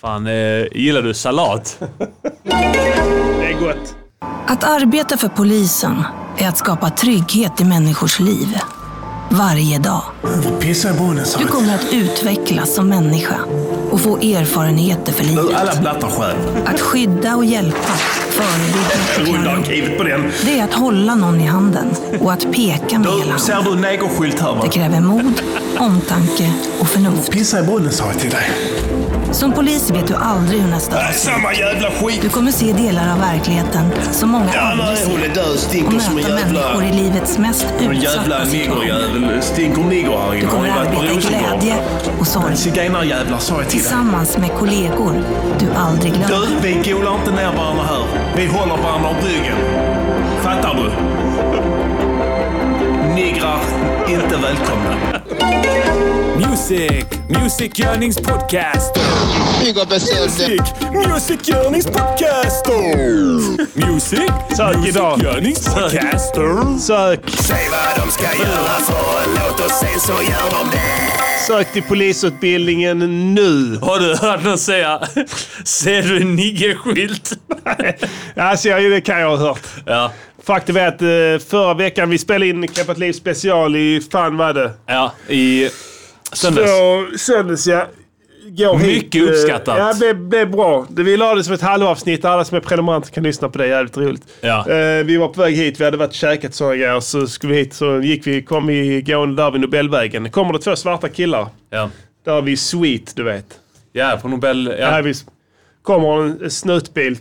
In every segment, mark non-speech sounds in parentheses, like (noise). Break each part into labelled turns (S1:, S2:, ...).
S1: Fan, eh, gillar du salat?
S2: Det är gott.
S3: Att arbeta för polisen är att skapa trygghet i människors liv. Varje dag.
S4: Pissa i brunnen sa
S3: Du kommer att utvecklas som människa och få erfarenheter för
S4: Nu, alla
S3: livet.
S4: blattar själv.
S3: Att skydda och hjälpa, förebygga och
S4: Runda
S3: förklara.
S4: arkivet på den.
S3: Det är att hålla någon i handen och att peka med hela
S4: Du, ser
S3: handen.
S4: du en negerskylt här
S3: Det
S4: va?
S3: kräver mod, omtanke och förnuft.
S4: Pissa i brunnen sa jag till dig.
S3: Som polis vet du aldrig hur nästa dag ser ut.
S4: Samma jävla skit.
S3: Du kommer se delar av verkligheten som många
S4: Ja,
S3: aldrig
S4: nej, hon är
S3: ser.
S4: död,
S3: Och
S4: stinker som en
S3: möta människor
S4: jävla...
S3: i livets mest
S4: En jävla
S3: utsatta situationer.
S4: niggerjävel. Stinker nigger här
S3: Du
S4: inne. Har
S3: kommer
S4: ni varit på
S3: arbeta i
S4: Rosengård?
S3: glädje och sorg.
S4: Zigenarjävlar sa jag till dig.
S3: Tillsammans med kollegor du aldrig glömmer.
S4: Du, vi golar inte ner varandra här. Vi håller varandra om ryggen. Fattar du? Nigrar, inte välkomna.
S5: Music, Music Yearnings Podcast.
S6: Bygg och besök.
S5: Music, Music Yearnings Podcast. Music,
S2: Sök
S5: Music
S2: idag.
S5: Yearnings Podcast.
S2: Sök,
S5: Säg vad de ska göra för en låt och sen så gör de det.
S2: sök till polisutbildningen (laughs) nu.
S1: Har du hört någon säga “Ser du en niggerskylt?”
S2: Alltså, jag- det kan jag ha hört.
S1: Ja,
S2: Faktum är att eh, förra veckan vi spelade in Knäppat Liv special i, fan vad det?
S1: ja, i söndags.
S2: Så, söndags ja. Går
S1: Mycket
S2: hit, eh,
S1: uppskattat.
S2: Ja, det blev bra. Det- Vi la det som ett halvavsnitt. Alla som är prenumeranter kan lyssna på det. Jävligt roligt.
S1: Ja.
S2: Eh, vi var på väg hit. Vi hade varit och käkat sådana grejer. Så skulle vi hit. Så gick vi, kom vi gående där vid Nobelvägen. kommer det två svarta killar.
S1: Ja.
S2: Där vid Sweet, du vet.
S1: ja, på Nobel...
S2: Ja. Här
S1: Ja.
S2: vid, kommer en snutbil.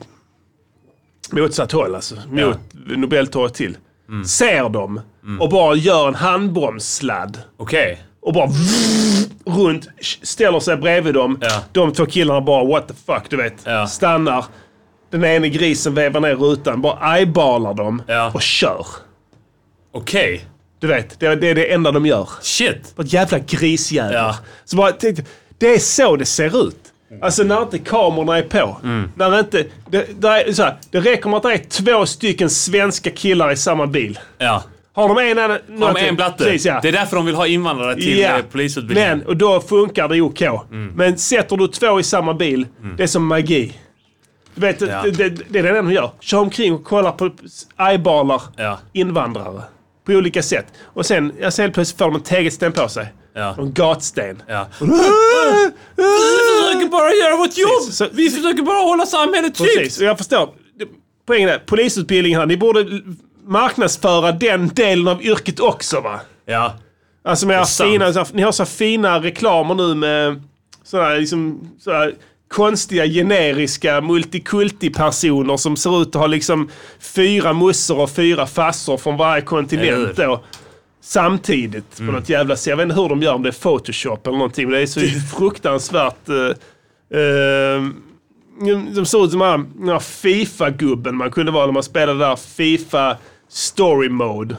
S2: Motsatt håll alltså. Mot Nobeltorget till.
S1: Mm.
S2: Ser dem. Och bara gör en handbromssladd
S1: Okej.
S2: och bara (laughs) vrrr, runt, ställer sig bredvid dem.
S1: Ja.
S2: De två killarna bara what the fuck, du vet.
S1: Ja.
S2: Stannar. Den ene grisen vevar ner rutan, bara eyeballar dem
S1: Ja.
S2: och kör.
S1: Okej.
S2: Du vet, det, det är det enda de gör.
S1: Shit.
S2: Vad jävla grisjävel.
S1: Ja.
S2: Så bara, tänkte, det är så det ser ut. Alltså när inte kamerorna är på.
S1: Mm.
S2: När inte, det, där är, så här, det räcker med att det är två stycken svenska killar i samma bil.
S1: Ja.
S2: Har de en annan...
S1: Har de en blatte?
S2: Precis, ja.
S1: Det är därför de vill ha invandrare till
S2: Ja,
S1: yeah. polisutbildningen. Mm.
S2: Men, och då funkar det OK. Men sätter du två i samma bil, det är som magi. Du vet,
S1: Ja.
S2: det, det, det är det enda de gör. Kör omkring och kollar på eyeballar
S1: Ja.
S2: invandrare. På olika sätt. Och sen, alltså helt plötsligt får de en tegelsten på sig.
S1: Ja.
S2: En gatsten.
S1: Ja. Vi försöker bara göra vårt jobb!
S2: Precis, (laughs) så-
S1: Vi försöker bara hålla samhället tryggt!
S2: Precis, och jag förstår. Poängen är, polisutbildningen här, ni borde l- marknadsföra den delen av yrket också va?
S1: Ja.
S2: Alltså med era
S1: sant.
S2: fina, så här, ni har så här fina reklamer nu med sådana här, liksom, så här konstiga generiska multikulti-personer som ser ut att ha liksom fyra mussor och fyra fassor från varje kontinent
S1: Eller Mm.
S2: då. Samtidigt på något jävla sätt. Jag vet inte hur de gör, om det är photoshop eller någonting. Men det
S1: (laughs)
S2: är så fruktansvärt... eh, eh, mm, de såg ut som den här, den här Fifa-gubben man kunde vara när man spelade där Fifa Story Mode.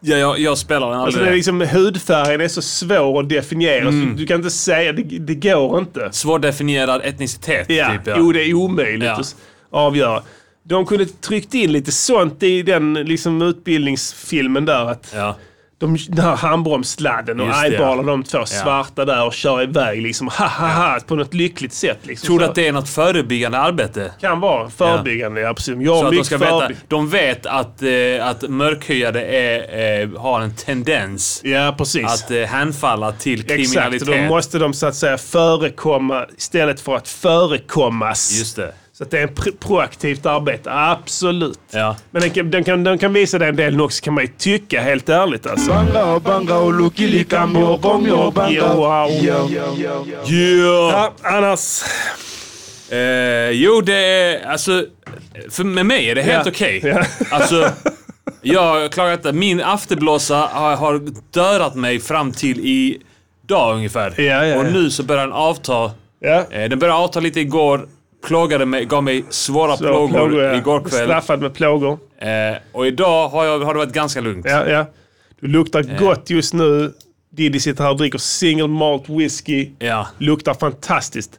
S1: ja jag, jag spelar den
S2: Alltså
S1: aldrig.
S2: det är liksom, hudfärgen är så svår att definiera.
S1: Mm.
S2: Så du kan inte säga, det, det går inte.
S1: Svårdefinierad etnicitet,
S2: Ja.
S1: typ. Ja.
S2: Jo, det är omöjligt
S1: Ja.
S2: att s- avgöra. De kunde tryckt in lite sånt i den liksom, utbildningsfilmen där. Att
S1: ja.
S2: de, den här handbromssladden och
S1: Just det,
S2: eyeballar
S1: ja.
S2: de två svarta där och kör iväg liksom. Ha, ha, ha, på något lyckligt sätt. Liksom.
S1: Tror du
S2: Så
S1: att det är något förebyggande arbete?
S2: kan vara förebyggande, ja, precis. Jag
S1: Så
S2: är
S1: att de,
S2: mycket
S1: ska veta,
S2: förebygg-
S1: de vet att, eh, att mörkhyade är, eh, har en tendens
S2: Ja, precis.
S1: att eh, hänfalla till
S2: Exakt,
S1: kriminalitet.
S2: då måste de så att säga förekomma istället för att förekommas.
S1: Just det.
S2: Så att det är en pr- proaktivt arbete, absolut.
S1: Ja.
S2: Men den kan, den, kan, den kan visa den delen också kan man ju tycka, helt ärligt alltså.
S7: Banga o banga o lukilika miogongo banga o
S2: Wow.
S1: Yeah.
S2: Ja, Ah, annars...
S1: Eh, jo, det är... Alltså, för med mig är det helt
S2: Ja.
S1: okej.
S2: Ja. (laughs)
S1: Alltså, jag klarar inte... Min afterblåsa har, har dödat mig fram till idag ungefär.
S2: Ja, ja,
S1: och
S2: ja.
S1: nu så börjar den avta.
S2: Ja.
S1: Eh, den började avta lite igår. Plågade mig, gav mig svåra
S2: Så
S1: plågor,
S2: ja.
S1: igår kväll.
S2: Straffad med plågor.
S1: Eh, och idag har, jag, har det varit ganska lugnt.
S2: Ja, ja. Du luktar
S1: Eh.
S2: gott just nu. Diddy sitter här och dricker single malt whisky.
S1: Ja.
S2: Luktar fantastiskt.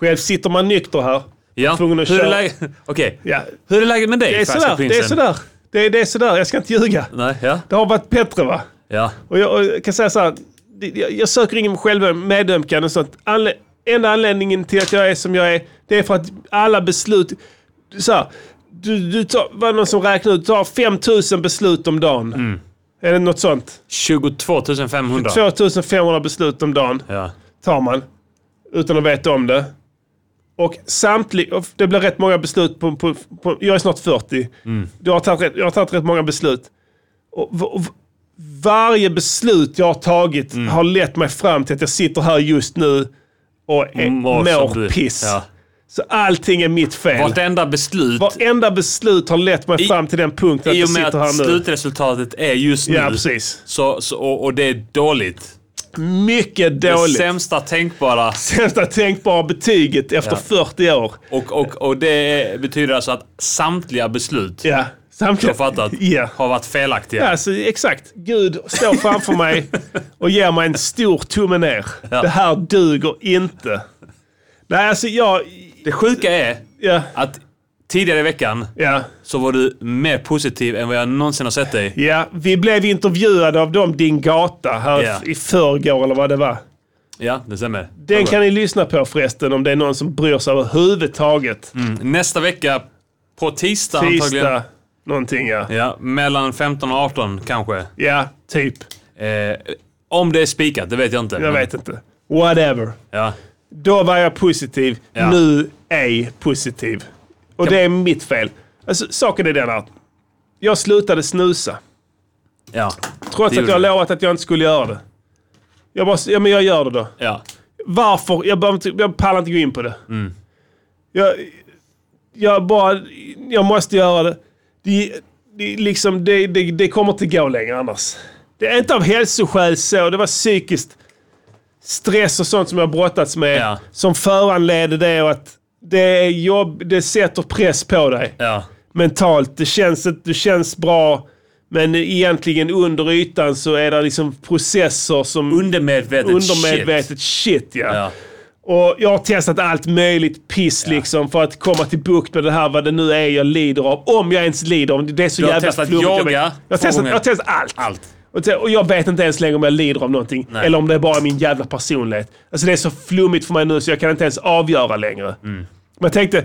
S2: Själv sitter man nykter här.
S1: Ja.
S2: Tvungen att
S1: Hur är
S2: köra.
S1: läget? Okej.
S2: Ja.
S1: Hur är läget med dig,
S2: Det är
S1: Färska
S2: sådär, det är
S1: prinsen?
S2: sådär. Det är, det är sådär, jag ska inte ljuga.
S1: Nej, ja.
S2: Det har varit bättre va?
S1: Ja.
S2: Och jag, och jag kan säga så här. det- Jag, jag söker ingen själv medömkan och sånt. Anle- enda anledningen till att jag är som jag är, det är för att alla beslut... Så här, du, du tar, var det någon som räknade ut, du tar 5000 beslut om dagen. Är det något sånt?
S1: 22 500.
S2: 2500 beslut om dagen
S1: Ja.
S2: tar man utan att veta om det. Och samtliga, och det blir rätt många beslut på, på, på jag är snart 40.
S1: Mm.
S2: Jag, har tagit rätt, jag har tagit rätt många beslut. Och, v- och, v- varje beslut jag har tagit
S1: Mm.
S2: har lett mig fram till att jag sitter här just nu och är, mår,
S1: Mm, som du.
S2: piss.
S1: Ja.
S2: Så allting är mitt fel.
S1: Vartenda beslut
S2: Varenda beslut har lett mig
S1: I-
S2: fram till den punkten att
S1: i
S2: jag
S1: och med
S2: sitter här
S1: att
S2: nu.
S1: slutresultatet är just nu.
S2: Ja, precis.
S1: Så, så, och, och det är dåligt.
S2: Mycket
S1: Det
S2: dåligt.
S1: sämsta tänkbara.
S2: Sämsta tänkbara betyget efter 40 år.
S1: Och, och, och det betyder alltså att samtliga beslut
S2: Ja, samtliga.
S1: jag har fattat
S2: Ja.
S1: har varit felaktiga.
S2: Ja, Alltså, exakt. Gud står framför mig och ger mig en stor tumme ner.
S1: Ja.
S2: Det här duger inte. Nej, alltså jag...
S1: Det sjuka är
S2: Ja,
S1: att tidigare i veckan
S2: ja,
S1: så var du mer positiv än vad jag någonsin har sett dig.
S2: ja. Vi blev intervjuade av dem, Din Gata, här
S1: Ja.
S2: i förrgår eller vad det var.
S1: Ja, det stämmer.
S2: Den kan ni lyssna på förresten om det är någon som bryr sig överhuvudtaget.
S1: Nästa vecka, på tisdag, Mm. antagligen.
S2: Tisdag, någonting ja.
S1: Ja, mellan 15 och 18 kanske.
S2: Ja, typ.
S1: Eh, om det är spikat, det vet jag inte.
S2: Jag vet inte. Whatever.
S1: Ja.
S2: Då var jag positiv.
S1: Ja.
S2: Nu är jag positiv. Och det är mitt fel. Alltså, saken är den att jag slutade snusa.
S1: Ja.
S2: Trots
S1: Det
S2: att
S1: gjorde
S2: jag
S1: du.
S2: lovat att jag inte skulle göra det. Jag bara, ja men jag gör det då.
S1: ja.
S2: Varför? Jag, behöver inte, jag pallar inte gå in på det.
S1: Mm.
S2: Jag, jag bara, jag måste göra det. Det, det, liksom, det, det, det kommer inte gå längre annars. Det är inte av hälsoskäl så, det var psykiskt stress och sånt som jag brottats med
S1: Ja.
S2: som föranledde det och att det är jobb, det sätter press på dig
S1: Ja.
S2: mentalt. Det känns, inte- det känns bra, men egentligen under ytan så är det liksom processer som
S1: Undermedvetet shit.
S2: undermedvetet shit. ja.
S1: Ja.
S2: Och jag har testat allt möjligt piss liksom för att komma till bukt med det här vad det nu är jag lider av. Om jag ens lider av det. Det är så
S1: Du har
S2: jävla
S1: testat
S2: flummigt. Jag vet-
S1: yoga
S2: Jag har
S1: två
S2: testat,
S1: gånger.
S2: jag har testat allt.
S1: Allt.
S2: Och, te- och jag vet inte ens längre om jag lider av någonting.
S1: Nej.
S2: Eller om det är bara min jävla personlighet. Alltså det är så flummigt för mig nu så jag kan inte ens avgöra längre.
S1: Mm.
S2: Men jag tänkte,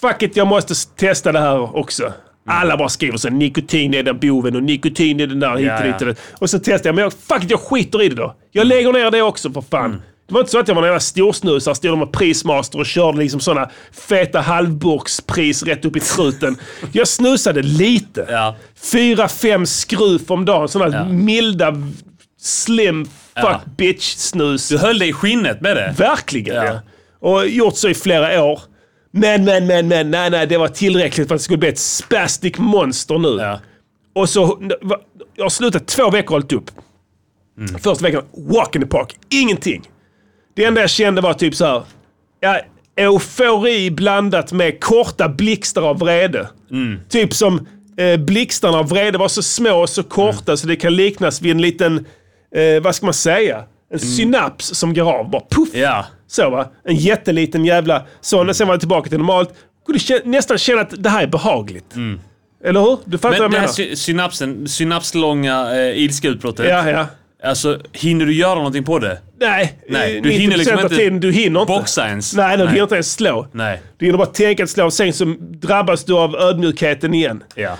S2: fuck it, jag måste s- testa det här också.
S1: Mm.
S2: Alla bara skriver så nikotin är den boven och nikotin är den där hit och
S1: Ja,
S2: dit.
S1: ja.
S2: och det. Och så testade jag, men jag, fuck it, jag skiter i det då. Jag lägger ner det också för fan.
S1: Mm.
S2: Det var inte så att jag var en jävla storsnusare, stod där med prismaster och körde liksom sådana feta halvburkspris rätt upp i truten. Jag snusade lite.
S1: Ja.
S2: Fyra, fem skruv om dagen. Sådana
S1: Ja.
S2: milda, slim, fuck
S1: Ja.
S2: bitch-snus.
S1: Du höll dig i skinnet med det.
S2: Verkligen
S1: Ja.
S2: ja. Och gjort så i flera år. Men, men, men, men, nej, nej, det var tillräckligt för att det skulle bli ett spastic monster nu.
S1: Ja.
S2: Och så, jag har slutat två veckor och hållit upp.
S1: Mm.
S2: Första veckan, walk in the park. Ingenting. Det enda jag kände var typ så här. Ja, eufori blandat med korta blixtar av vrede.
S1: Mm.
S2: Typ som eh, blixtarna av vrede var så små och så korta
S1: Mm.
S2: så det kan liknas vid en liten, eh, vad ska man säga? En
S1: Mm.
S2: synaps som går av. Bara puff!
S1: Ja.
S2: Så va? En jätteliten jävla
S1: Mm.
S2: sån. Sen var det tillbaka till normalt. Kunde kä- nästan känna att det här är behagligt. Eller hur? Du fattar
S1: Mm. Men det
S2: vad
S1: här
S2: jag menar?
S1: sy- synapsen, synapslånga eh, ilskeutbrottet.
S2: Ja, ja.
S1: Alltså, hinner du göra någonting på det?
S2: Nej,
S1: Nej,
S2: eh,
S1: du
S2: 90%
S1: hinner liksom
S2: av
S1: inte
S2: tiden, du hinner inte.
S1: boxa ens.
S2: Nej, nej, du
S1: Nej.
S2: hinner inte ens slå.
S1: Nej.
S2: Du hinner bara tänka att slå, sen så drabbas du av ödmjukheten igen.
S1: Ja.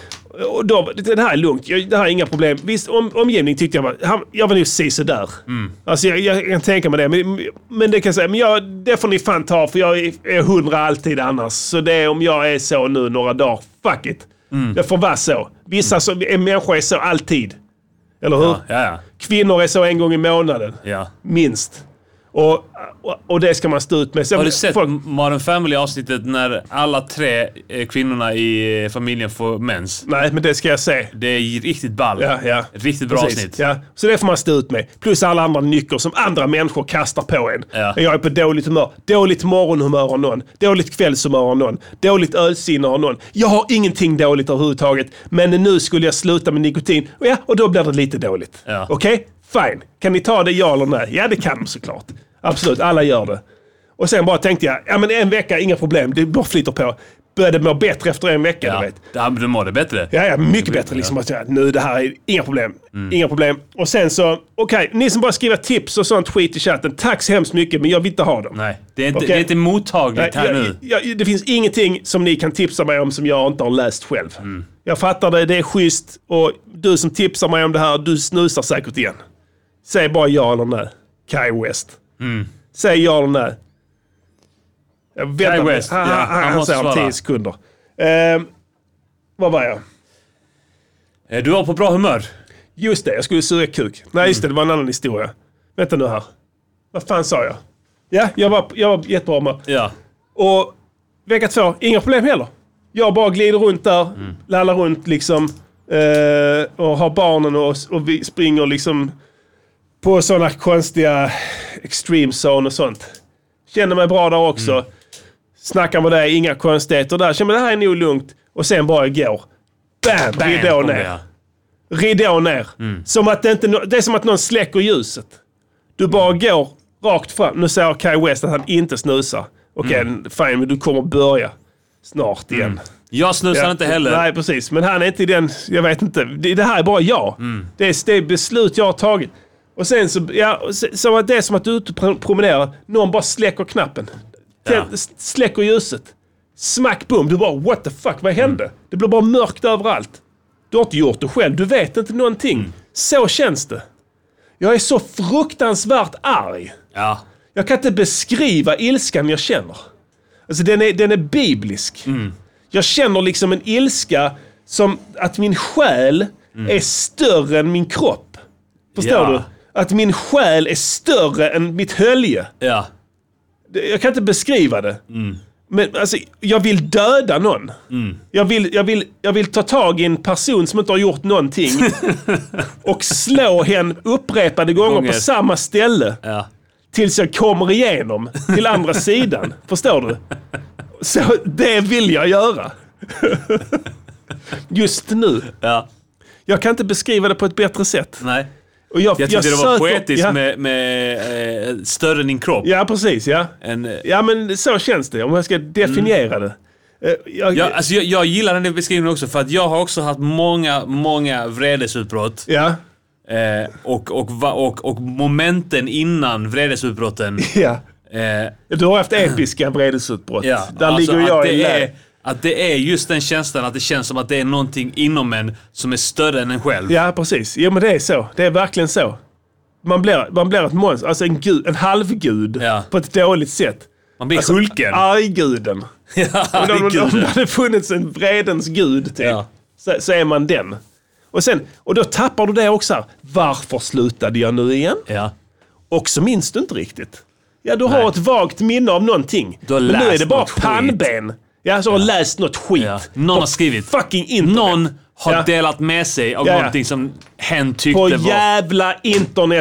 S2: Och då, det här är lugnt, jag, det här är inga problem. Visst, om, omgivning tyckte jag var... Han, jag var nog sisådär.
S1: Mm.
S2: Alltså jag, jag kan tänka mig det. Men, men det kan jag säga, men jag, det får ni fan ta för jag är- är hundra alltid annars. Så det är om jag är så nu några dagar, fuck it.
S1: Mm.
S2: Det får vara så. Vissa som är människor är så alltid. Eller hur?
S1: Ja, ja.
S2: Kvinnor är så en gång i månaden.
S1: ja.
S2: Minst. Och, och, och det ska man stå ut med. Sen-
S1: Har du sett
S2: folk-
S1: Modern Family avsnittet när alla tre eh, kvinnorna i eh, familjen får mens?
S2: Nej, men det ska jag se.
S1: Det är riktigt ball.
S2: Ja, ja.
S1: Ett riktigt bra
S2: Precis.
S1: avsnitt.
S2: Ja. Så det får man stå ut med. Plus alla andra nycker som andra människor kastar på en.
S1: Ja.
S2: Jag är på dåligt humör. Dåligt morgonhumör av någon. Dåligt kvällshumör av någon. Dåligt ölsinne av någon. Jag har ingenting dåligt överhuvudtaget. Men nu skulle jag sluta med nikotin. Och ja, och då blir det lite dåligt.
S1: Ja.
S2: Okej? Fine. Kan ni ta det ja eller nej? Ja, det kan de såklart. Absolut, alla gör det. Och sen bara tänkte jag, ja men en vecka, inga problem. Det bara flyter på. började må bättre efter en vecka. Du
S1: Ja.
S2: vet.
S1: Det här, du mådde bättre.
S2: Ja, ja, mycket bättre. Liksom, att, säga, nu det här är inga problem.
S1: Mm.
S2: Inga problem. Och sen så, okej, ni som bara skriver tips och sånt skit i chatten. Tack så hemskt mycket, men jag vill inte ha dem.
S1: Nej, det är inte,
S2: Okej.
S1: det är inte mottagligt här
S2: jag,
S1: nu.
S2: jag, det finns ingenting som ni kan tipsa mig om som jag inte har läst själv.
S1: Mm.
S2: Jag fattar det, det är schysst. Och du som tipsar mig om det här, du snusar säkert igen. Säg bara ja eller nej. Kai West.
S1: Mm.
S2: Säg ja eller nej. Jag väntar
S1: Kai
S2: på-
S1: West,
S2: han,
S1: ja,
S2: han,
S1: han
S2: han, han
S1: måste
S2: säger om
S1: svara.
S2: 10 sekunder. Ehm, vad var jag?
S1: Eh, Du var på bra humör.
S2: Just det, jag skulle suga kuk. Nej, just det, det var en annan historia. Vänta nu här. Vad fan sa jag? Ja, jag var, jag var jättebra med.
S1: Ja.
S2: Och vecka två, inga problem heller. Jag bara glider runt där,
S1: Mm.
S2: lallar runt liksom. Eh, och har barnen och, oss, och vi springer liksom på sådana konstiga extreme zone och sånt. Känner mig bra där också.
S1: Mm.
S2: Snackar med dig, inga konstigheter där. Känner mig, det här är nog lugnt. Och sen bara går. Bam!
S1: Bam,
S2: Ridå
S1: kom
S2: ner.
S1: det, ja.
S2: Ridå ner. Som att det, inte, det är som att någon släcker ljuset. Du bara går rakt fram. Nu säger Kai West att han inte snusar. Okej, fine, men du kommer börja snart igen.
S1: Jag snusar inte heller.
S2: Nej, precis. Men han är inte i den... Jag vet inte. Det, det här är bara jag.
S1: Mm.
S2: Det, är, det är beslut jag har tagit. Och sen så... Ja, och se- så att det är som att du är ute och pro- promenerar. Någon bara släcker knappen.
S1: Ja.
S2: Tänd- s- Släcker ljuset. Smack, boom. Du bara what the fuck, vad hände?
S1: Mm.
S2: Det blir bara mörkt överallt. Du har inte gjort det själv. Du vet inte någonting.
S1: Mm.
S2: Så känns det. Jag är så fruktansvärt arg.
S1: Ja.
S2: Jag kan inte beskriva ilskan jag känner. Alltså den är, den är biblisk.
S1: Mm.
S2: Jag känner liksom en ilska som att min själ är större än min kropp. Förstår
S1: Mm. Ja.
S2: du? Att min själ är större än mitt hölje.
S1: Ja.
S2: Det- Jag kan inte beskriva det.
S1: Mm.
S2: Men alltså, jag vill döda någon. Jag, vill, jag, vill, jag vill ta tag i en person som inte har gjort någonting
S1: (laughs)
S2: och slå henne upprepade gånger,
S1: Gånger.
S2: på samma ställe
S1: Ja.
S2: tills jag kommer igenom till andra sidan. Förstår du? Så det vill jag göra. Just nu.
S1: ja.
S2: Jag kan inte beskriva det på ett bättre sätt.
S1: Nej.
S2: Och jag,
S1: Jag tyckte det var
S2: söker-
S1: poetiskt
S2: ja,
S1: med, med eh, större än din kropp.
S2: Ja, precis. Ja.
S1: En, eh,
S2: ja, men så känns det. Om jag ska definiera det. Eh, Jag,
S1: Ja, alltså jag, jag gillar den där beskrivningen också för att jag har också haft många, många vredesutbrott.
S2: ja.
S1: Eh, och, och, va- och, och momenten innan
S2: (laughs)
S1: vredesutbrotten.
S2: ja.
S1: Eh,
S2: Du har haft episka vredesutbrott.
S1: ja,
S2: Där
S1: alltså
S2: ligger jag
S1: att
S2: i
S1: det
S2: lä.
S1: är, Att det är just den känslan att det känns som att det är någonting inom en som är större än en själv.
S2: Ja, precis. Jo, men det är så. Det är verkligen så. Man blir, man blir ett monster, alltså en, gud, en halvgud
S1: Ja.
S2: på ett dåligt sätt.
S1: Man blir
S2: Alltså,
S1: Hulken.
S2: Argguden.
S1: (laughs) (laughs) Ja,
S2: Men om, om det
S1: gud.
S2: hade funnits en vredens gud typ,
S1: Ja.
S2: så, så är man den. Och, sen, och då tappar du det också. här. Varför slutade jag nu igen?
S1: ja.
S2: Och så minns du inte riktigt. Ja, du
S1: Nej.
S2: har ett vagt minne av någonting.
S1: Du har
S2: men nu är
S1: läst
S2: det bara
S1: något skit.
S2: pannben. Ja, så har jag läst något skit.
S1: Ja. Någon
S2: På
S1: har skrivit.
S2: Fucking internet.
S1: Någon har
S2: Ja.
S1: delat med sig av
S2: Ja, ja.
S1: någonting som hen tyckte
S2: På
S1: var...
S2: jävla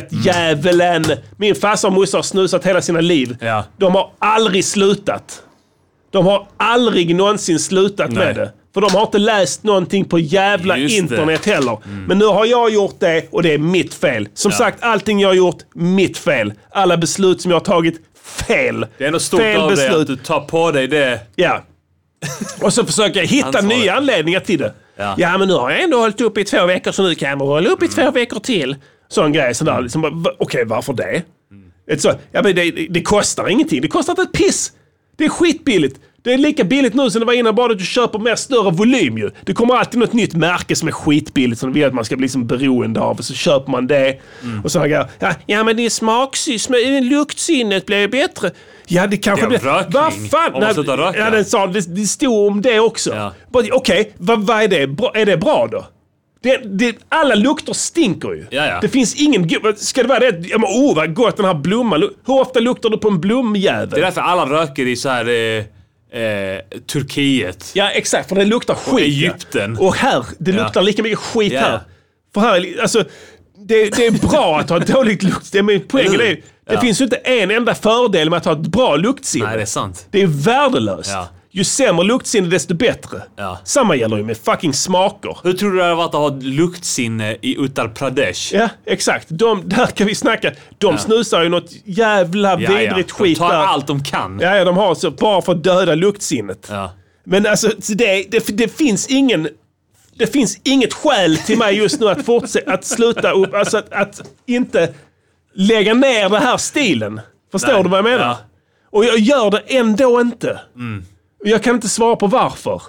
S2: internetdjävulen! Min farsa och morsa har snusat hela sina liv.
S1: Ja.
S2: De har aldrig slutat. De har aldrig någonsin slutat med det. För de har inte läst någonting på jävla
S1: Just det. Mm.
S2: internet heller. Men nu har jag gjort det och det är mitt fel. Som sagt, allting jag har gjort, mitt fel. Alla beslut som jag har tagit, fel.
S1: Det är ändå stort
S2: fel
S1: av dig
S2: beslut.
S1: att du tar på dig det.
S2: Ja. Och så försöker jag hitta
S1: Ansvaret.
S2: nya anledningar till det.
S1: Ja.
S2: men nu har jag ändå hållit upp i två veckor så nu kan jag väl hålla upp i två veckor till. Sån grej. Sån där, liksom, bara, va- Okej, varför det? Ett Så, ja, men det, det- det kostar ingenting. Det kostar inte ett piss. Det är skitbilligt. Det är lika billigt nu som det var innan, bara att du köper mer större volym ju. Det kommer alltid något nytt märke som är skitbilligt som du vill att man ska bli liksom beroende av. Och så köper man det.
S1: Mm.
S2: Och så har jag, ja, ja men det är smaksynne, luktsinnet blir bättre. Ja det kanske
S1: Det är
S2: blir...
S1: rökning.
S2: Vad fan?
S1: Om man slutar röka.
S2: ja, den sa, det, det stod om det också.
S1: Ja.
S2: Bara, Okej, vad, vad är det? Bra, är det bra då? Det, det, alla lukter stinker ju.
S1: Ja, ja.
S2: Det finns ingen... go- Ska det vara det? Ja, men, oh, vad gott den här blomman lu- Hur ofta luktar du på en blomjävel?
S1: Det är därför alla röker i så här eh, eh, Turkiet.
S2: Ja, exakt. För det luktar skit. ja.
S1: Egypten.
S2: Och här, det
S1: Ja.
S2: luktar lika mycket skit
S1: Ja.
S2: här. För här, är li- alltså, det, det är bra att ha dåligt luktsinne, men poängen
S1: Eller
S2: är
S1: hur?
S2: det
S1: Ja.
S2: finns ju inte en enda fördel med att ha ett bra luktsinne.
S1: Nej, det är sant.
S2: Det är värdelöst.
S1: Ja.
S2: Ju sämre luktsinne desto bättre.
S1: Ja.
S2: Samma gäller ju med fucking smaker.
S1: Hur tror du det hade varit att ha ett luktsinne i Uttar Pradesh?
S2: Ja, exakt. De, där kan vi snacka. De snusar ju något jävla
S1: Ja, ja.
S2: vidrigt skit
S1: De tar
S2: där.
S1: allt de kan.
S2: Ja, ja, de har så bara för att döda luktsinnet.
S1: Ja.
S2: Men alltså, så det, det, det finns ingen... Det finns inget skäl till mig just nu att fortsätta, att sluta upp, alltså att, att inte lägga ner den här stilen. Förstår
S1: Nej.
S2: du vad jag menar?
S1: Ja. Mm.
S2: Och jag gör det ändå inte. Och Jag kan inte svara på varför.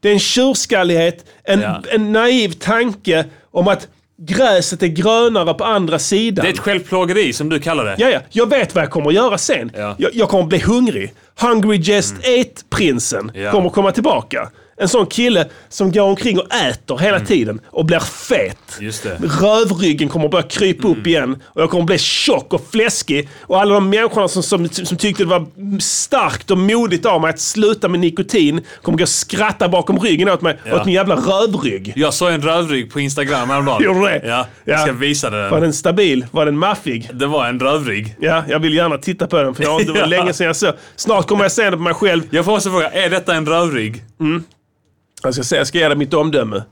S2: Det är en tjurskallighet, en,
S1: Ja.
S2: en naiv tanke om att gräset är grönare på andra sidan.
S1: Det är ett självplågeri som du kallar det.
S2: Ja, ja. Jag vet vad jag kommer att göra sen.
S1: Ja. Mm.
S2: Jag, jag kommer att bli hungrig. Hungry Just Ate-prinsen
S1: Ja.
S2: kommer att komma tillbaka. En sån kille som går omkring och äter hela tiden och blir fet.
S1: Mm. Just det. Mm.
S2: Rövryggen kommer att börja krypa upp igen och jag kommer att bli tjock och fläskig. Och alla de människorna som, som, som tyckte det var starkt och modigt av mig att sluta med nikotin kommer gå och skratta bakom ryggen åt mig,
S1: Ja.
S2: åt min jävla rövrygg.
S1: Jag såg en rövrygg på Instagram häromdagen.
S2: Gjorde du det?
S1: Ja, jag
S2: Ja.
S1: ska visa
S2: Var
S1: dig den.
S2: den stabil? Var den maffig?
S1: Det var en rövrygg.
S2: Ja, jag vill gärna titta på den för
S1: (laughs)
S2: jag, det var
S1: Ja.
S2: länge sedan jag såg. Snart kommer jag se den på mig själv.
S1: Jag får också fråga, är detta en rövrygg?
S2: Jag ska, se, jag ska ge dig mitt omdöme.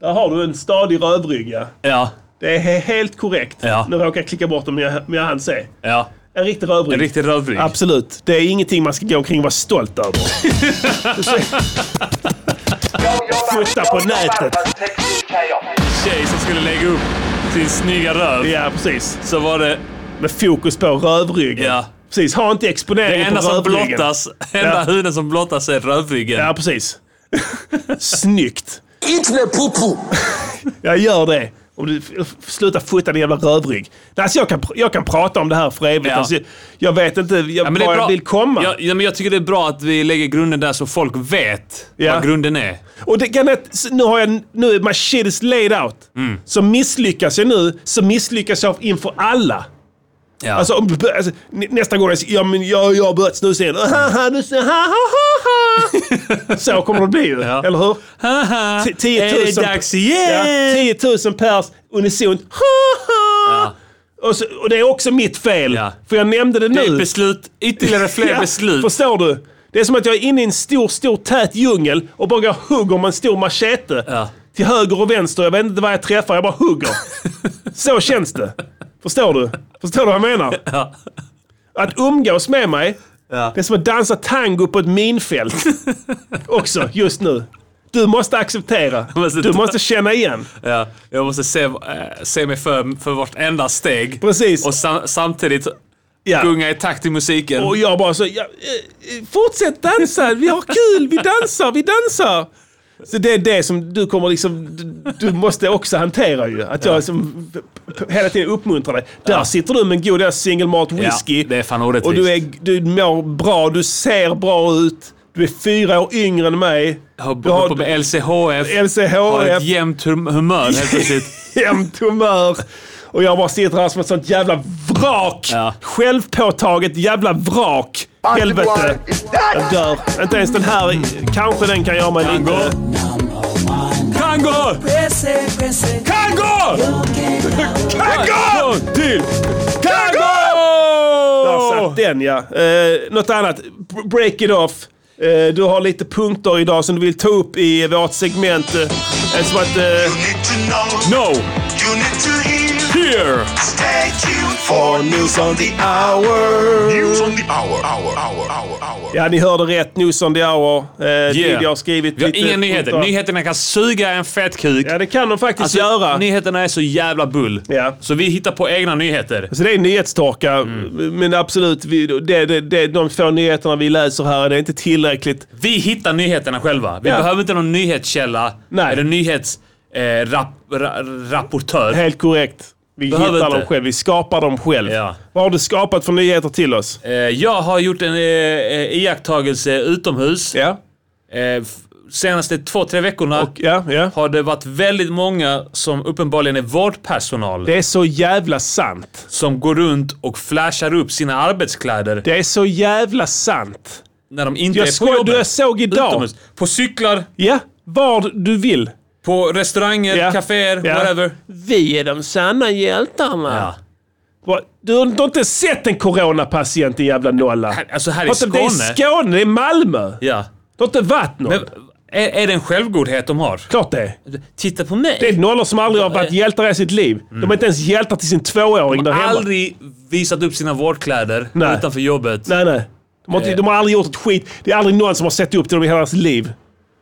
S2: Där har du en stadig rövrygga.
S1: Ja.
S2: Det är he- helt korrekt.
S1: Ja.
S2: Nu råkar jag klicka bort dem, men jag, men jag hann se.
S1: Ja.
S2: En riktig rövrygg.
S1: En riktig rövrygg.
S2: Absolut. Det är ingenting man ska gå omkring och vara stolt över. Du ser- Fota på nätet.
S1: Tjej som skulle lägga upp sin snygga röv.
S2: Ja, precis.
S1: Så var det
S2: Med fokus på rövryggen.
S1: Ja.
S2: Precis. Ha inte
S1: det
S2: exponeringen på
S1: enda som
S2: rövryggen.
S1: blottas, enda
S2: Ja.
S1: huden som blottas är rövryggen.
S2: Ja, precis. Snyggt.
S5: Inte med popo!
S2: Jag gör det. Om du f- slutar fota din jävla rövrygg. Nej, Alltså jag, kan, pr- jag kan prata om det här för evigt.
S1: Ja.
S2: Alltså, jag vet inte jag,
S1: Ja, men det är
S2: var
S1: bra.
S2: jag vill komma.
S1: Ja, ja, men jag tycker det är bra att vi lägger grunden där så folk vet
S2: Ja.
S1: vad grunden är.
S2: Och det, kan jag, s- nu har jag, nu är my shit is laid out.
S1: Mm.
S2: Så misslyckas jag nu, så misslyckas jag inför alla.
S1: Ja.
S2: Alltså, om, alltså nä- nästa gång jag säger ja, men jag, jag har börjat snusa
S1: Mm.
S2: igen. Haha, nu ser- ha, ha,
S1: (laughs)
S2: ha, ha. Så kommer det bli ju,
S1: Ja.
S2: eller hur?
S1: Haha,
S2: T- 10 000,
S1: Är det dags igen?
S2: Ja, 10 000 pers unisont. Ha, ha. Och, så, och det är också mitt fel,
S1: Ja.
S2: för jag nämnde det nu.
S1: Det är ett beslut, ytterligare fler
S2: Ja,
S1: beslut.
S2: Förstår du? Det är som att jag är inne i en stor, stor tät djungel och bara går och hugger med en stor machete.
S1: Ja.
S2: Till höger och vänster. Jag vet inte vad jag träffar, jag bara
S1: (laughs)
S2: hugger. Så känns det. Förstår du? Förstår du vad jag menar?
S1: Ja.
S2: Att umgås med mig, det är som att dansa tango på ett minfält. Också, just nu. Du måste acceptera.
S1: måste
S2: Du
S1: ta-
S2: måste känna igen.
S1: Ja, jag måste se, eh, se mig för, för vartenda steg.
S2: Precis.
S1: Och sam, samtidigt
S2: Ja.
S1: gunga i takt till musiken.
S2: Och jag bara så, ja, eh, eh, fortsätt dansa, vi har kul, vi dansar, vi dansar. Så det är det som du kommer liksom, du, du måste också hantera ju. Att jag liksom, p- p- hela tiden uppmuntrar dig. Där sitter du med en god jävla single malt whisky.
S1: Ja, det är fan orättvist.
S2: och du, är, du mår bra, du ser bra ut. Du är fyra år yngre än mig.
S1: Jag har
S2: Du
S1: börjat på
S2: har
S1: med LCHF. Har ett
S2: LCHF,
S1: jämnt hum- humör helt
S2: (laughs)
S1: plötsligt.
S2: jämnt humör. Och jag bara sitter här som ett sånt jävla vrak.
S1: Ja.
S2: Självpåtaget jävla vrak. Helvete. Jag dör. Inte ens den här. Kanske den kan göra mig lite...
S1: Kango! Kango! Kango! Till
S2: Där
S1: Kango!
S2: satt den ja. Eh, något annat. B- Break it off. Eh, du har lite punkter idag som du vill ta upp i vårt segment. Eh, eh, som att... Eh,
S1: No! Here!
S2: ja, ni hörde rätt. News on the hour. Eh, Lydia har skrivit
S1: Vi har
S2: lite
S1: inga nyheter.
S2: punkter.
S1: Nyheterna kan suga en fett kuk.
S2: Ja, det kan de faktiskt
S1: Alltså,
S2: göra.
S1: Nyheterna är så jävla bull.
S2: Ja.
S1: Så vi hittar på egna nyheter.
S2: Så Alltså, det är nyhetstorka,
S1: Mm.
S2: men absolut, vi, det, det, det, de få nyheterna vi läser här, det är inte tillräckligt.
S1: Vi hittar nyheterna själva. Vi
S2: Ja.
S1: behöver inte någon nyhetskälla
S2: Nej.
S1: eller nyhetsrapportör. Eh, rap, ra, rapportör.
S2: Helt korrekt. Vi
S1: Behöver
S2: hittar
S1: inte.
S2: dem själv, vi skapar dem själv.
S1: Ja.
S2: Vad har du skapat för nyheter till oss?
S1: eh, jag har gjort en eh, eh, iakttagelse utomhus.
S2: Ja,
S1: Eh, f- senaste två, tre veckorna
S2: och, ja, ja.
S1: har det varit väldigt många som uppenbarligen är vårdpersonal
S2: Det är så jävla sant.
S1: som går runt och flashar upp sina arbetskläder
S2: Det är så jävla sant.
S1: när de inte
S2: Jag
S1: är på
S2: skojar,
S1: jobbet.
S2: du jag såg idag.
S1: Utomhus. På cyklar,
S2: Ja, var du vill.
S1: på restauranger,
S2: Ja.
S1: kaféer,
S2: Ja.
S1: whatever.
S2: Vi är de sanna hjältarna.
S1: Ja.
S2: Va? Du har du har inte sett en coronapatient i jävla nolla.
S1: Alltså här i
S2: Har inte- Det är
S1: Skåne.
S2: Skåne, det är Malmö.
S1: Ja.
S2: Det har inte varit någon.
S1: Men, är, är det en självgodhet de har?
S2: Klart det är.
S1: Titta på mig.
S2: Det är nollor som aldrig har
S1: Eh.
S2: varit hjältar i sitt liv. De
S1: Mm.
S2: är inte ens hjältar till sin tvååring där hemma.
S1: aldrig visat upp sina vårdkläder
S2: Nej.
S1: utanför jobbet.
S2: Nej, nej. De har,
S1: Eh.
S2: inte- de har aldrig gjort ett skit. Det är aldrig någon som har sett upp till dem i hela deras liv.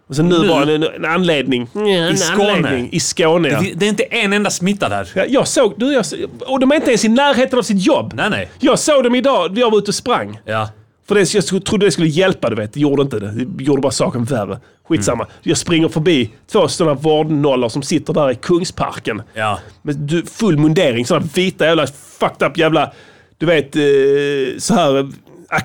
S2: Och sen nu,
S1: Nu?
S2: bara en, en anledning. I
S1: Skåne.
S2: I Skåne, ja.
S1: Det, det är inte en enda smittad här.
S2: Ja, Jag såg... Du, jag, och de är inte ens i närheten av sitt jobb.
S1: Nej, nej.
S2: Jag såg dem idag när jag var ute och sprang.
S1: Ja.
S2: För det, jag skulle- trodde det skulle hjälpa, du vet. Det gjorde inte det. Det gjorde bara saken värre. Skitsamma.
S1: Mm.
S2: Jag springer förbi två sådana vårdnollor som sitter där i Kungsparken.
S1: Ja.
S2: Med du, full mundering. Sådana vita jävla fucked up jävla, du vet, eh, så här eh,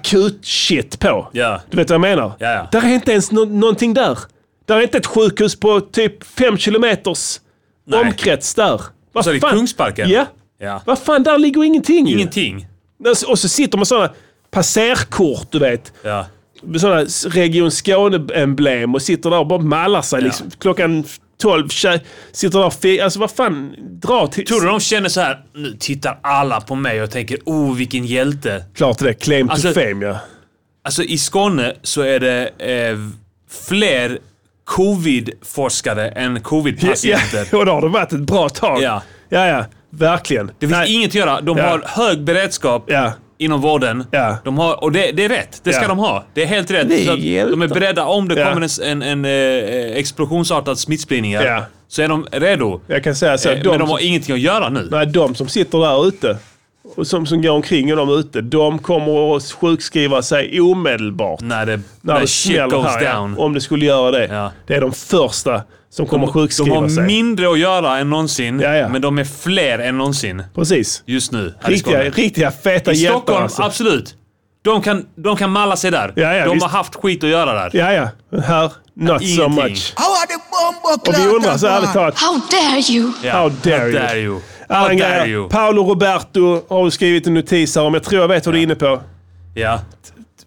S2: akut-shit på.
S1: Ja.
S2: Du vet vad jag menar?
S1: Ja, ja.
S2: Där är inte ens nå- någonting där. Där är inte ett sjukhus på typ fem kilometers
S1: Nej.
S2: omkrets där. Vad
S1: Så är det
S2: fan?
S1: Kungsparken?
S2: Ja.
S1: Ja.
S2: Vad fan, där ligger ingenting ju.
S1: Ingenting.
S2: Alltså, Och så sitter man sådana passerkort, du vet.
S1: Ja.
S2: Med sådana Region Skåne-emblem och sitter där och bara mallar sig. Liksom, klockan 12, tjej, sitter där och fi- Alltså vad fan, dra till...
S1: Tror du de känner så här, nu tittar alla på mig och tänker oh vilken hjälte.
S2: Klart det, claim
S1: Alltså-
S2: to fame ja.
S1: Alltså i Skåne så är det eh, fler covid-forskare än covid-patienter.
S2: Ja, (laughs) och då har det varit ett bra tag.
S1: Ja.
S2: ja, ja. Verkligen.
S1: Det finns inget att göra. De
S2: Ja.
S1: har hög beredskap
S2: Ja.
S1: inom vården.
S2: Ja.
S1: De har, och det, det är rätt. Det ska
S2: Ja.
S1: de ha. Det är helt rätt.
S2: Det är
S1: Så att de är
S2: hjältar.
S1: beredda. Om det
S2: Ja.
S1: kommer en, en, en eh, explosionsartad smittspridning här,
S2: Ja.
S1: så är de redo.
S2: Jag kan säga så.
S1: Eh,
S2: här, de,
S1: Men de har
S2: som,
S1: ingenting att göra nu.
S2: nej, de som sitter där ute och som, som går omkring och de är ute, de kommer att sjukskriva sig omedelbart.
S1: När det,
S2: när
S1: när
S2: det
S1: shit
S2: smäller
S1: goes
S2: här, ja.
S1: down.
S2: Om det skulle göra det.
S1: Ja.
S2: Det är de första som kommer
S1: De
S2: sjukskriva
S1: har
S2: sig.
S1: mindre att göra än någonsin,
S2: Ja, ja.
S1: men de är fler än någonsin
S2: Precis.
S1: just nu. här i
S2: Riktiga,
S1: Skåne.
S2: riktiga feta
S1: I
S2: hjältar
S1: Stockholm,
S2: alltså.
S1: absolut. De kan, de kan malla sig där.
S2: Ja, ja,
S1: de
S2: visst.
S1: har haft skit att göra där.
S2: Ja, ja. Men Här, not so
S1: Ingenting.
S2: much. Och vi undrar så ärligt talat,
S6: How dare you?
S1: Ja.
S2: How dare
S1: How
S2: you.
S1: dare you.
S2: Alla
S1: How dare
S2: grejer.
S1: you.
S2: Paolo Roberto har ju skrivit en notis här om, jag tror jag vet vad du är inne på.
S1: Ja,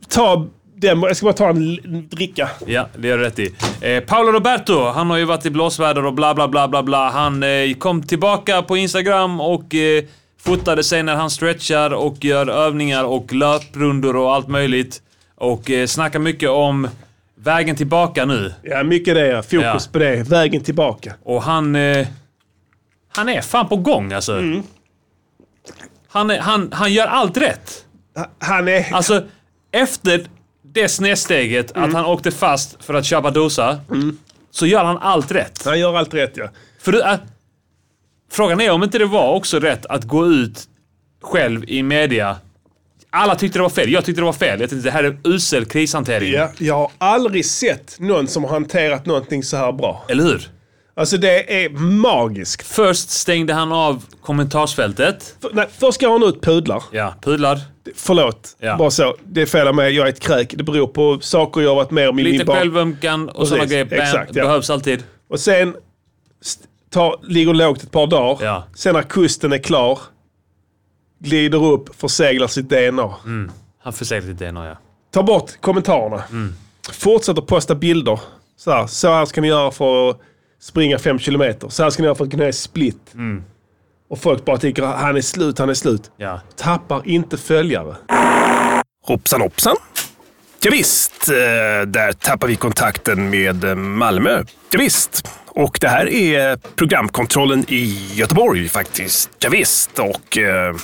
S2: Ta den, jag ska bara ta en l- dricka.
S1: ja, det gör du rätt i. Eh, Paolo Roberto, han har ju varit i blåsväder och bla bla bla bla bla. Han eh, kom tillbaka på Instagram och eh, fotade sig när han stretchar och gör övningar och löprundor och allt möjligt. Och eh, snackar mycket om vägen tillbaka nu.
S2: Ja, mycket det. ja. Fokus
S1: Ja.
S2: på det. Vägen tillbaka.
S1: Och han... Eh, han är fan på gång alltså. Han, är, han, han gör allt rätt.
S2: Ha- Han är...
S1: Alltså, efter det snedsteget
S2: Mm.
S1: att han åkte fast för att köpa dosa, så gör han allt rätt.
S2: Han gör allt rätt ja.
S1: För du, äh, frågan är om inte det var också rätt att gå ut själv i media. Alla tyckte det var fel. Jag tyckte det var fel. Jag tänkte det här är usel krishantering.
S2: ja. Jag har aldrig sett någon som har hanterat någonting så här bra.
S1: Eller hur?
S2: Alltså det är magiskt.
S1: Först stängde han av kommentarsfältet.
S2: För, nej, först går han ut pudlar.
S1: Ja, pudlar.
S2: Förlåt.
S1: Ja.
S2: Bara så. Det är fel av mig. Jag är ett kräk. Det beror på saker jag har varit med om i min
S1: Lite
S2: barn.
S1: självömkan och sådana
S2: Precis,
S1: grejer. Bam,
S2: exakt, ja.
S1: Behövs alltid.
S2: Och sen st- tar, ligger lågt ett par dagar.
S1: Ja.
S2: Sen när kusten är klar. Glider upp, förseglar sitt DNA.
S1: Han förseglar lite DNA, ja.
S2: Ta bort kommentarerna. Fortsätt att posta bilder. Så här, så här ska ni göra för att springa fem kilometer. Så här ska ni göra för att kunna göra split. Och folk bara tycker han är slut, han är slut.
S1: ja.
S2: Tappar inte följare.
S4: Hoppsan hoppsan. Ja, visst, eh, där tappar vi kontakten med eh, Malmö. Ja, visst. Och det här är programkontrollen i Göteborg faktiskt. Ja, visst. och eh,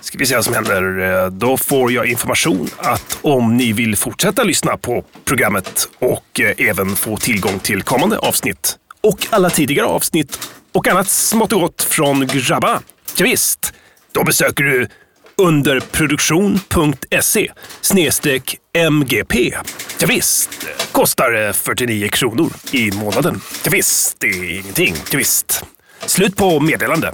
S4: ska vi se vad som händer. Eh, Då får jag information att om ni vill fortsätta lyssna på programmet och eh, även få tillgång till kommande avsnitt och alla tidigare avsnitt och annat smått och gott från grabba. Ja, visst. då besöker du underproduktion.se E snedstreck MGP. Ja, visst. kostar eh, 49 kronor i månaden. Ja, visst. det är ingenting. Ja, visst. Slut på meddelande.